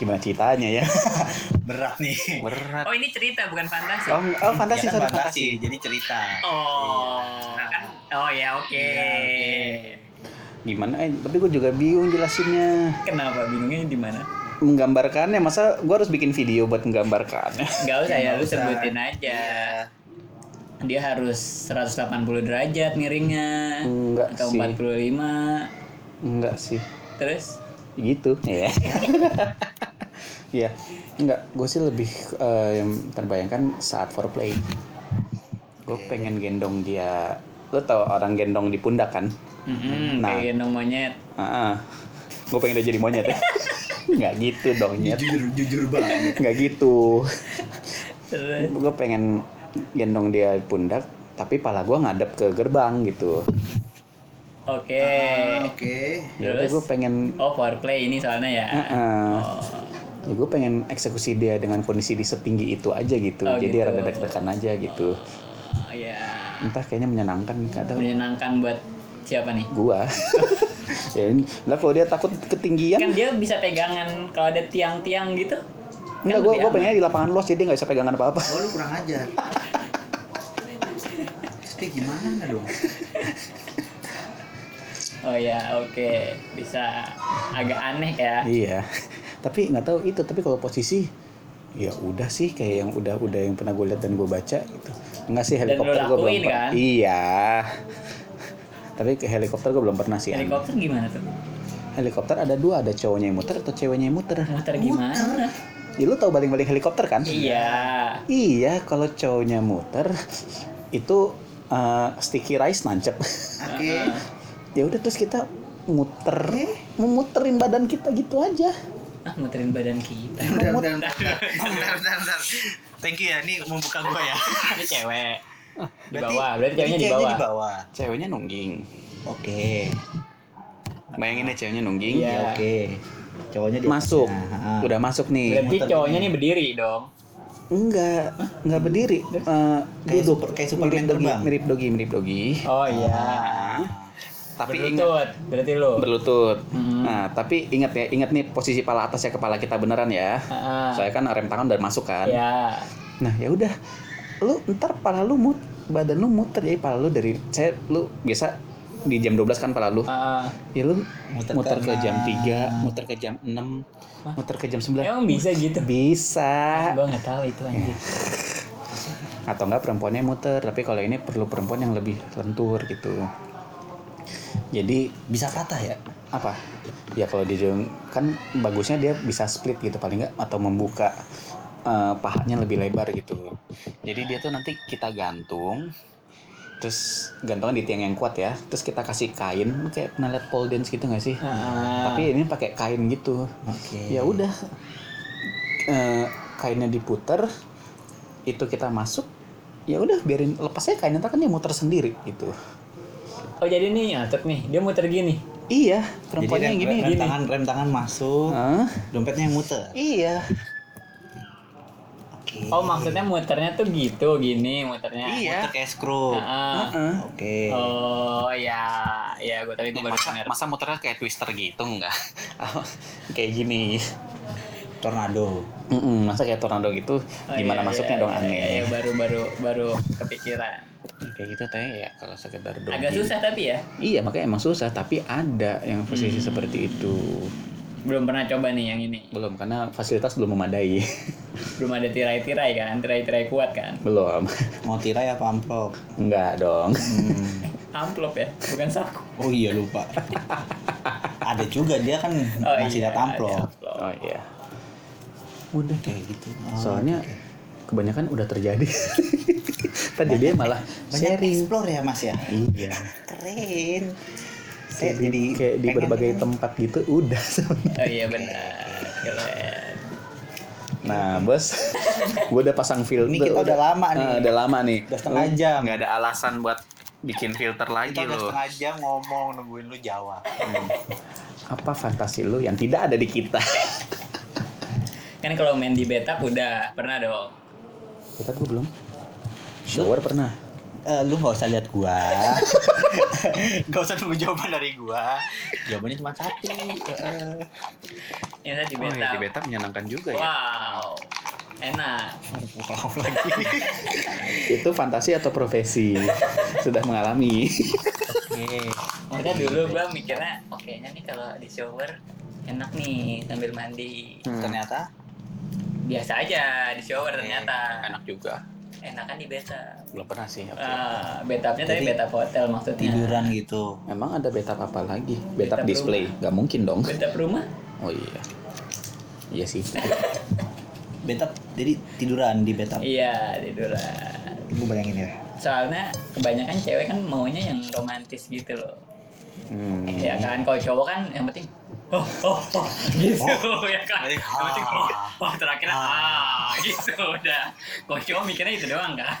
Gimana ceritanya ya?
berat nih.
Berat.
oh ini cerita bukan fantasi
Oh, enggak, oh, fantasi,
Ya kan,
sorry,
fantasi,
fantasi.
jadi cerita.
oh nah kan oh ya oke
Gimana? Eh, tapi gue juga bingung jelasinnya.
kenapa bingungnya di mana
Menggambarkannya, masa gue harus bikin video buat menggambarkannya?
nggak usah ya,
Ya,
lu
nggak usah.
sebutin aja
Iya.
dia harus 180 derajat miringnya
Enggak
atau
sih.
45
Enggak sih.
terus
gitu ya ya enggak gue sih lebih eh, yang terbayangkan saat foreplay gue pengen gendong dia lo tau orang gendong di pundak kan
mm
Nah.
kayak gendong monyet
ah gue pengen dia jadi monyet ya nggak gitu dong nyet
Jujur, jujur banget.
nggak gitu
terus
gue pengen gendong dia di pundak tapi pala gue ngadep ke gerbang gitu
oke
Ah, Oke. Hmm.
ya udah
Terus?
gue pengen
oh foreplay ini soalnya ya
ah.
Oh.
ya gue pengen eksekusi dia dengan kondisi di setinggi itu aja gitu
Oh,
jadi
gitu.
rada deg-degan aja gitu
Oh, ya
entah kayaknya menyenangkan nggak tahu
menyenangkan buat siapa nih
gua ya ini lah kalau dia takut ketinggian
Ya.
kan dia bisa pegangan kalau ada tiang-tiang gitu
enggak
Kan
gua
lebih
gua
aman.
pengennya di lapangan luas jadi dia nggak bisa pegangan apa apa
Oh, lu kurang ajar. Terus Kayak gimana dong?
oh ya oke bisa agak aneh ya
iya tapi nggak tahu itu tapi kalau posisi ya udah sih kayak yang udah-udah yang pernah gue lihat dan gue baca gitu enggak sih helikopter
lu
gue belum
lakuin,
pernah
kan?
iya tapi ke helikopter gue belum pernah
Iya.
sih An.
helikopter gimana tuh
helikopter ada dua ada cowoknya yang muter atau ceweknya yang muter
muter gimana
ya lu tahu baling-baling helikopter kan
iya
Iya, kalau cowoknya muter itu eh, sticky rice nancep.
Oke.
ya udah terus kita muter, memuterin badan kita gitu aja.
ah muterin badan kita
Bentar, bentar, bentar. Bentar, bentar, bentar. Thank you ya, ini membuka gua ya.
Ini cewek.
di bawah berarti ceweknya di
Ceweknya
bawah
bawah.
Ceweknya nungging.
Oke.
Bayangin deh ceweknya nungging.
Iya.
Oke. Cowoknya di
Masuk.
atasnya. Ah, ah.
Udah masuk nih.
berarti cowoknya nih berdiri dong
Enggak, enggak berdiri. Eh,
Kayak
duduk.
super- kayak Superman
mirip dogi,
terbang.
mirip dogi, mirip dogi.
oh iya
Tapi ingat
berlutut berarti lo
berlutut.
Hmm.
Nah, tapi ingat ya, ingat nih posisi pala atas ya kepala kita beneran ya.
Ah,
Soalnya kan rem tangan udah masuk kan.
ya
Nah, ya udah. Lu ntar pala lu mut, badan lu muter jadi pala lu dari saya lu biasa di jam 12 kan pala lu.
Ah,
Ya lu
Muter
muter,
ke
ke
enam.
jam 3, muter ke jam 6, muter ke jam 9.
emang bisa gitu
Bisa.
gua nggak tahu itu anjir
atau enggak perempuannya muter tapi kalau ini perlu perempuan yang lebih lentur gitu jadi
bisa patah ya?
apa ya kalau di Jung kan bagusnya dia bisa split gitu paling enggak atau membuka eh, pahanya lebih lebar gitu jadi dia tuh nanti kita gantung terus gantungan di tiang yang kuat ya terus kita kasih kain kayak pernah liat pole dance gitu nggak sih
Ah,
tapi ini pakai kain gitu
Oke.
ya udah Eh, kainnya diputer itu kita masuk ya udah biarin lepas aja kainnya ntar kan dia muter sendiri gitu
oh jadi nih nyatet nih dia muter gini
iya
Jadi
perempuannya
rem,
yang gini
rem,
gini Ah.
tangan rem tangan masuk,
Hah?
dompetnya yang muter.
iya
Oke.
oh maksudnya muternya tuh gitu gini muternya
iya
Muter kayak screw.
Ah,
Heeh.
Oke.
oh ya ya gua tadi gua baru
masa,
denger.
masa muternya kayak twister gitu enggak kayak gini
Tornado.
Mm-mm, masa kayak tornado gitu
Oh,
gimana
iya,
masuknya
iya,
dong
iya,
aneh ya.
iya, iya, baru baru baru kepikiran
kayak gitu teh ya kalau sekedar doang
agak susah tapi ya
iya makanya emang susah tapi ada yang posisi seperti itu
belum pernah coba nih yang ini
belum karena fasilitas belum memadai
belum ada tirai-tirai kan tirai-tirai kuat kan
belum
Mau tirai apa amplop? Hmm.
enggak dong
amplop ya bukan saku
Oh iya lupa. ada juga dia kan masih
iya,
ada amplop.
ada amplop.
oh iya udah
Kayak gitu. Oh,
soalnya kebanyakan udah terjadi tadi dia malah
banyak
sharing
explore ya Mas ya.
iya
Keren. Saya
kayak di,
jadi
kayak di
pengen-
berbagai tempat gitu udah sebenarnya.
oh iya benar keren
nah bos gue udah pasang filter
Ini kita udah lama nih.
Ah, udah lama nih
Udah setengah jam.
nggak ada alasan buat bikin filter lagi
Kita udah
loh
setengah jam ngomong nungguin lu jawab.
apa fantasi lu yang tidak ada di kita
kan kalau main di betap udah pernah dong
kita gue belum shower pernah
Eh, lu nggak usah lihat gua.
Gak usah nunggu jawaban dari gua.
Jawabannya cuma satu. Eh, Heeh.
yang saya di
Oh,
betap
ya, di beta menyenangkan juga ya.
wow enak
Itu fantasi atau profesi? Sudah mengalami.
Oke.
maksudnya dulu gua mikirnya oke nih kalau di shower enak nih sambil mandi
Ternyata
biasa aja di
Iya,
shower ternyata
Enak juga.
enakan di betap
Belum pernah sih. aku.
ah betapnya tadi
Jadi,
betap hotel maksudnya
tiduran gitu.
Emang ada betap apa lagi? Betap
Betap
display? Gak mungkin dong.
betap rumah
Oh iya. Iya sih.
Betap jadi tiduran di betap.
iya tiduran
Lu bayangin ya.
soalnya kebanyakan cewek kan maunya yang romantis gitu loh
Hmm.
ya kan kalau cowok kan yang penting oh oh oh gitu ya kan yang penting oh, oh terakhir ah gitu udah kalau cowok mikirnya itu doang kan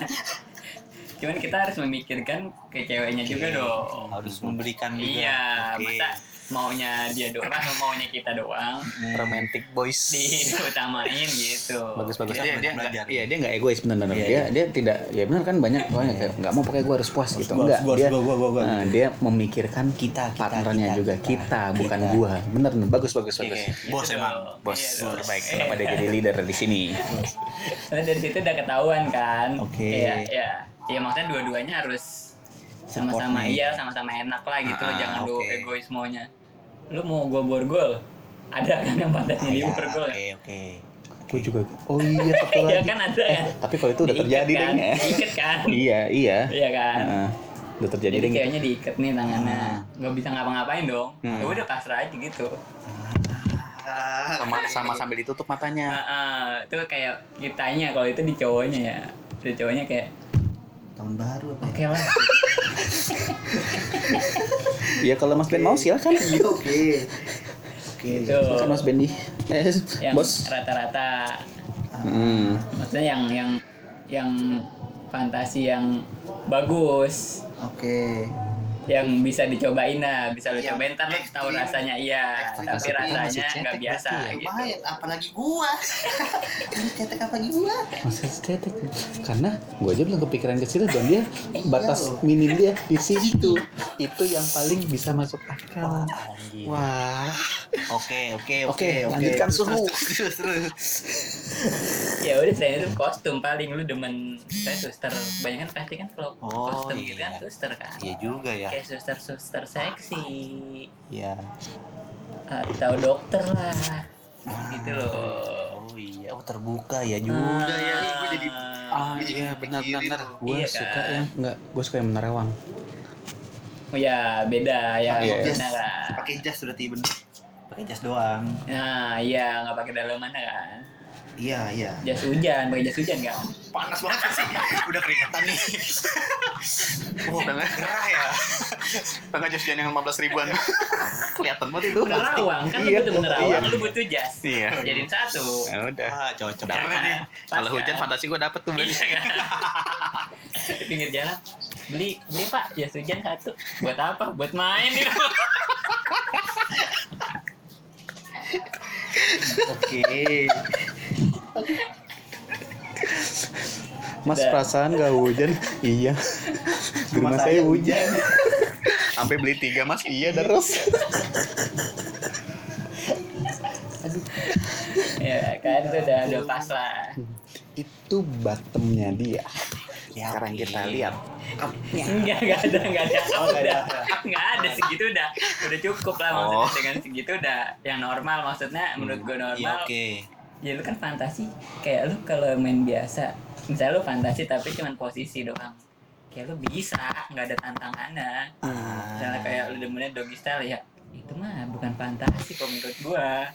cuman kita harus memikirkan ke ceweknya juga dong
Harus memberikan juga.
iya
Oke.
masa maunya dia doang atau maunya kita doang
Hmm.
Romantic boys.
diutamain gitu
bagus bagus dia
Dia- dia
dia
nggak-
iya dia nggak egois benar benar
Iya,
dia dia tidak ya benar kan banyak banyak kayak nggak mau pakai gua harus puas gitu
gua,
enggak
harus gua,
dia
harus gua, gua, gua, gua.
eh, dia memikirkan kita
kita,
partnernya
kita,
juga
kita,
kita, Iya, bukan
kita.
gua benar benar bagus bagus bagus
Gitu
Bos emang.
bos
Iya,
Iya
terbaik
terbaik
kenapa dia jadi leader di sini
Karena dari situ udah ketahuan kan.
Oke.
Iya, iya. Iya maksudnya dua-duanya harus sama-sama
Support-nya.
iya, sama-sama enak lah gitu. loh.
Ah,
Jangan lu
oke.
egois maunya. Lu mau gua borgol? Ada kan yang pantatnya
Iya,
diborgol
Oke,
ya?
oke.
gua juga oh iya satu
Iya
lagi
kan ada kan?
tapi kalau itu udah
Diikat
terjadi
kan?
deng ya
Diikat kan?
iya iya
Iya kan?
Ah,
Heeh. udah terjadi
Jadi
ya?
deng
kayaknya diikat nih tangannya. Nggak bisa ngapa-ngapain dong.
Hmm.
Ya udah pasrah aja gitu.
sama sama sambil ditutup
Ya.
matanya
Nah, ah, itu kayak kitanya kalau itu di cowoknya ya. Di cowoknya kayak
Tahun baru apa ya?
oke lah.
ya kalau mas Ben mau silakan
Iya, Oke. Oke.
Oke.
Gitu.
Silakan Mas Bendi. Eh,
yang
bos.
rata-rata
Hmm.
maksudnya yang yang yang fantasi yang bagus
Oke.
yang bisa dicobain lah bisa lo
Yang
cobain ntar lo tahu
ekstrim.
rasanya iya
Ekstrim
tapi
tapi
rasanya
masih
nggak
cetek
biasa
berarti
gitu
Lumayan, apalagi gua. Ini cetek apalagi gua.
Masa estetik. Karena gue aja belum kepikiran ke situ dan dia batas minim dia di situ. Itu yang paling bisa masuk akal. Wah.
Oke, oke,
Oke, lanjutkan suhu.
Terus, terus.
ya udah selain itu kostum paling lu demen saya suster kebanyakan pasti kan kalau
Oh,
kostum
iya.
gitu kan suster kan
Iya juga ya.
kayak suster suster seksi
Iya.
atau dokter lah gitu loh
Oh iya, oh terbuka ya
Hmm.
juga ya. Ih, gua jadi
Ah iya benar benar. Gue
Iya kan?
suka yang enggak gue suka yang menerawang.
Oh ya beda ya
Pakai
benar
jas.
lah.
pakai jas udah tiba. Pakai jas doang.
Nah, iya nggak pakai dalaman kan.
Iya, iya.
Jas hujan, pakai jas hujan kan.
Panas banget sih. Udah keringetan nih.
Oh,
Gerah ya.
Tengah jas hujan yang 15 ribuan. Kelihatan banget itu.
Bener rawang kan lu
Iya,
butuh bener
iya.
rawang, lu butuh jas.
Iya.
Jadiin satu.
Ya udah.
Wah,
Ah,
cocok
Dapet
banget nih.
Pas
Kalau hujan
kan?
fantasi gue dapet tuh beli.
Iya kan. Di pinggir jalan beli beli pak jas hujan satu buat apa buat main ya. di rumah
Oke.
Mas
Udah.
perasaan gak hujan? iya. Di rumah saya hujan.
Sampai beli tiga mas. Iya terus.
ya kan itu udah udah pas lah
Itu bottomnya dia.
Sekarang kita lihat.
Enggak, enggak ada, enggak ada.
Oh, nggak ada.
udah, enggak ada segitu udah. Udah cukup
Oh.
lah maksudnya dengan segitu udah yang normal maksudnya menurut gue
Iya,
normal.
oke.
Ya lu kan fantasi kayak lu kalau main biasa, misalnya lu fantasi tapi cuman posisi doang. Kayak lu bisa, enggak ada tantangannya. Misalnya
Ah,
kayak lu demennya doggy style ya itu mah bukan fantasi kok menurut gua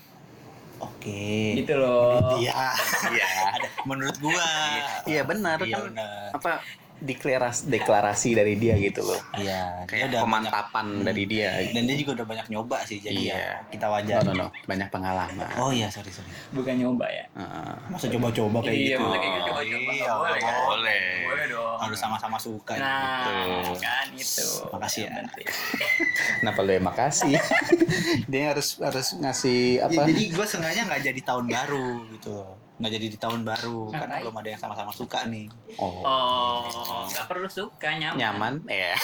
Oke.
gitu loh
Iya.
Iya.
Ada menurut gua.
Iya benar
Iya,
kan
benar.
apa deklarasi deklarasi dari dia gitu loh.
Iya, dia
Kayak
udah
Hmm.
pemantapan dari dia.
Iya,
banyak- dan dia juga udah banyak nyoba sih jadi
Iya.
ya kita wajar.
No no no banyak pengalaman.
Oh iya, sorry sorry.
bukan nyoba ya
Heeh.
Masa coba-coba kayak
Iya,
gitu.
maksudnya kayak gitu, coba-coba,
Iya,
nggak boleh,
nggak
kan?
Boleh.
boleh dong
Harus sama-sama suka.
nah
gitu.
kan itu
Makasih ya.
Yang penting.
Kenapa lu yang Nah, makasih? dia harus harus ngasih
Ya,
apa?
jadi gue sengaja nggak jadi tahun baru gitu loh. Nggak jadi di tahun baru karena
Ngapain?
belum ada yang sama-sama suka nih.
Oh. Iya.
Oh, nggak perlu suka nyaman.
Nyaman. Ya.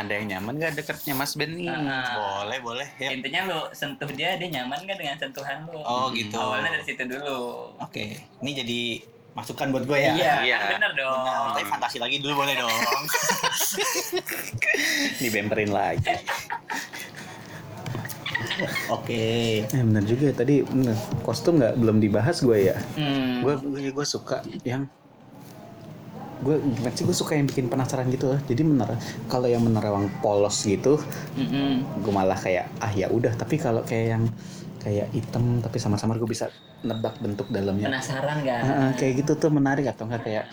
Anda yang nyaman gak deketnya Mas Ben nih?
Nah,
Boleh boleh. Ya.
intinya lo sentuh dia, dia nyaman kan dengan sentuhan lo.
Oh gitu.
Awalnya dari situ dulu.
Oke, ini jadi masukan buat gue ya.
Iya,
Iya.
kan bener dong.
Nah, tapi fantasi lagi dulu boleh dong.
Dibemperin lagi.
Oke.
Eh benar juga ya, tadi bener. kostum nggak belum dibahas gue ya.
Hmm.
Gue gue suka yang gue gimana sih gue suka yang bikin penasaran gitu loh. Jadi menara kalau yang menerawang polos gitu,
Mm-mm.
gue malah kayak ah ya udah. Tapi kalau kayak yang kayak hitam tapi sama-sama gue bisa nebak bentuk dalamnya.
Penasaran kan? nggak?
Ah, ah, Iya. kayak gitu tuh menarik atau enggak kayak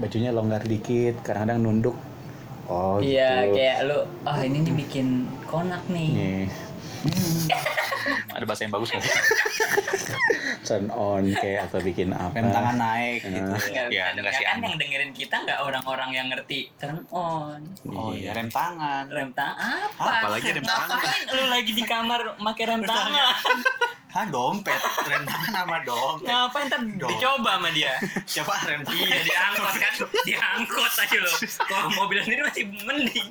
bajunya longgar dikit, kadang-kadang nunduk. Oh
Iya,
gitu.
kayak lo, oh ini dibikin konak nih.
Nih,
Ada bahasa yang bagus gak?
turn on kayak atau bikin apa?
Rem tangan naik gitu.
Nggak
Iya,
bisa dong.
nggak
Ya
sih,
kan
aneh.
yang dengerin kita nggak orang-orang yang ngerti turn on,
Oh iya, rem tangan.
rem tangan apa?
Apalagi rem tangan.
Ngapain lu lagi di kamar pakai rem tangan?
Hah, Ah, dompet. Rem tangan sama dompet.
Ngapain ntar
Dong.
dicoba sama dia?
Coba rem tangan.
Iya diangkot kan, diangkot aja loh. Kalau mobil sendiri masih mending.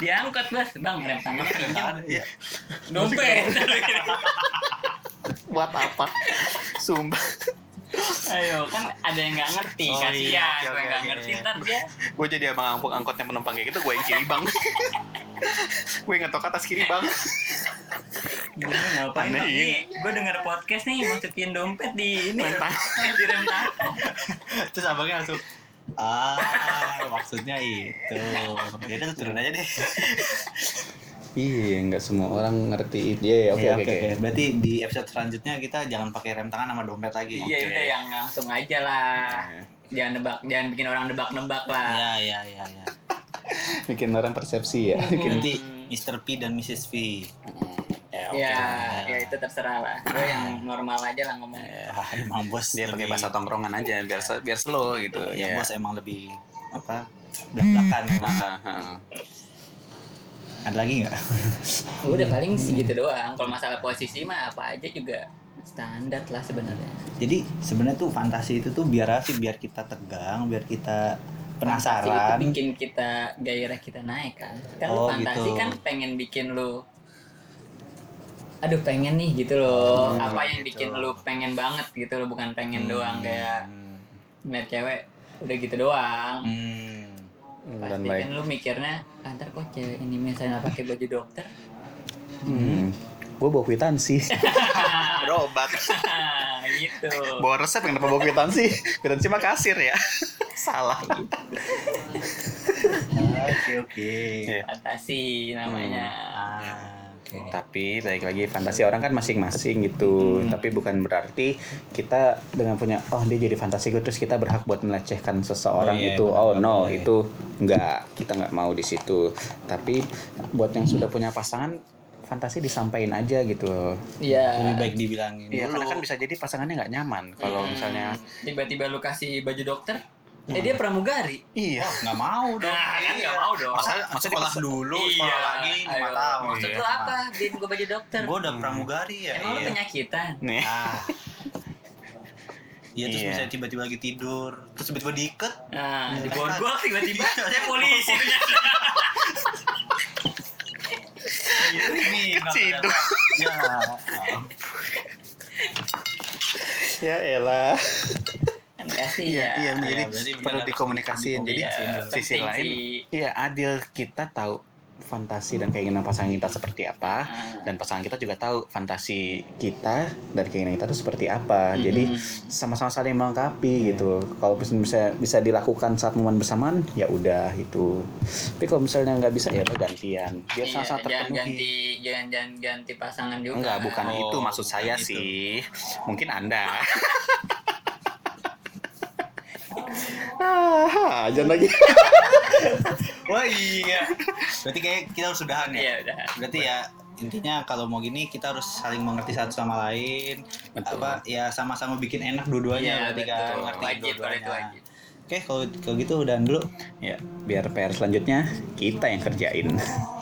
Diangkot bos, bang rem tangan
Rem tangan. Iya.
dompet.
gitu. Buat apa? Sumpah.
Ayo kan ada yang nggak ngerti,
Oh,
kasihan.
iya, oke,
Gue
oke,
nggak
oke.
ngerti ntar dia.
gue jadi abang angkot angkotnya penumpang kayak gitu gue yang kiri bang gue ngetok atas kiri bang
Gimana ngapain?
Aneh,
Bang?
iya.
Nih, Gue denger podcast nih masukin dompet di ini.
Rem
Di rem tangan.
Terus abangnya langsung Ah, maksudnya itu. Ya udah turun aja deh.
Iya, nggak semua orang ngerti itu. Iya, iya, oke,
Iya,
oke, oke.
Berarti di episode selanjutnya kita jangan pakai rem tangan sama dompet lagi.
Iya udah yang langsung aja lah.
Iya.
Jangan nebak, jangan bikin orang nebak-nebak lah.
Iya, iya, iya, iya.
Bikin orang persepsi ya.
Hmm. Iya. Nanti Mr. P dan Mrs. V.
Iya,
Ya, oke.
Ya, ya itu terserah lah. Gue yang normal aja lah ngomong.
Iya.
Ya, emang bos
dia pakai
lebih-
bahasa tongkrongan aja biar se- biar slow gitu
Ya,
ya
bos emang lebih apa? Belak-belakan.
ya.
emang. Ada lagi nggak?
Udah paling sih gitu doang. Kalau masalah posisi mah apa aja juga standar lah sebenarnya.
Jadi sebenarnya tuh fantasi itu tuh biar apa sih? Biar kita tegang, biar kita
Fantasi itu
penasaran.
bikin kita gairah kita naik kan. Kan lu
Oh,
fantasi
gitu.
kan pengen bikin lu Aduh pengen nih gitu loh.
Hmm,
apa yang bikin lu pengen banget gitu loh, bukan pengen doang kayak ngeliat cewek udah gitu doang.
Hmm.
Dan
Pasti
baik.
kan lu mikirnya, "Ah, ntar kok cewek ini misalnya pakai baju dokter.
Hmm. Gue bawa kwitansi.
ada obat
Ah, gitu.
bawa resep kenapa bawa kwitansi kwitansi mah kasir ya salah
Hmm.
Oke oke.
Iya. Fantasi namanya.
Hmm. Nah,
Tapi balik lagi fantasi orang kan masing-masing gitu. Tapi bukan berarti kita dengan punya oh dia jadi fantasi gue terus kita berhak buat melecehkan seseorang
Oh, iya,
itu.
benar,
Oh
benar,
no,
iya.
itu enggak kita nggak mau di situ. Tapi buat yang sudah punya pasangan fantasi disampaikan aja gitu loh.
Iya.
Lebih baik dibilangin.
Iya, karena kan bisa jadi pasangannya nggak nyaman kalau
Hmm.
misalnya
tiba-tiba lu kasih baju dokter, eh dia pramugari.
iya
Nggak mau dong.
Nah, kan nggak mau dong.
masa masa
sekolah
dipaksa-
dulu,
Iya,
sekolah lagi lima
ayo.
tahun.
Maksud lu apa? Bikin gua baju dokter.
Gue udah pramugari ya.
Emang lu
iya.
penyakitan?
nih
Ah. Iya terus
Iya.
misalnya tiba-tiba lagi tidur, terus tiba-tiba diikat.
Nah, di bawah gua tiba-tiba saya polisi.
Ini
Keciduk.
Ya.
ya elah
Kasih
iya iya
ya.
jadi
berarti
perlu
benar.
dikomunikasiin jadi
Iya,
sisi
penting
lain
sih.
Iya adil kita tahu fantasi dan keinginan pasangan kita seperti apa
Ah.
dan pasangan kita juga tahu fantasi kita dan keinginan kita itu seperti apa. Jadi sama-sama saling melengkapi gitu. Kalau mis- bisa bisa dilakukan saat momen bersamaan ya udah itu. Tapi kalau misalnya nggak bisa ya udah gantian. Biar
Iya,
sama-sama
jangan
terpenuhi.
ganti jangan jangan ganti pasangan juga.
Enggak, bukan
Oh,
itu maksud
bukan
saya
itu.
sih. Mungkin Anda. ah, jangan lagi.
Wah iya. Berarti kayak kita harus sudahan ya.
Iya, udah.
Berarti ya intinya kalau mau gini kita harus saling mengerti satu sama lain. Apa ya sama-sama bikin enak dua-duanya berarti kan
Iya, betul.
ngerti
Wajib kalau itu
dua-duanya.
wajib.
Oke kalau kalau gitu udahan dulu.
Ya, biar PR selanjutnya kita yang kerjain.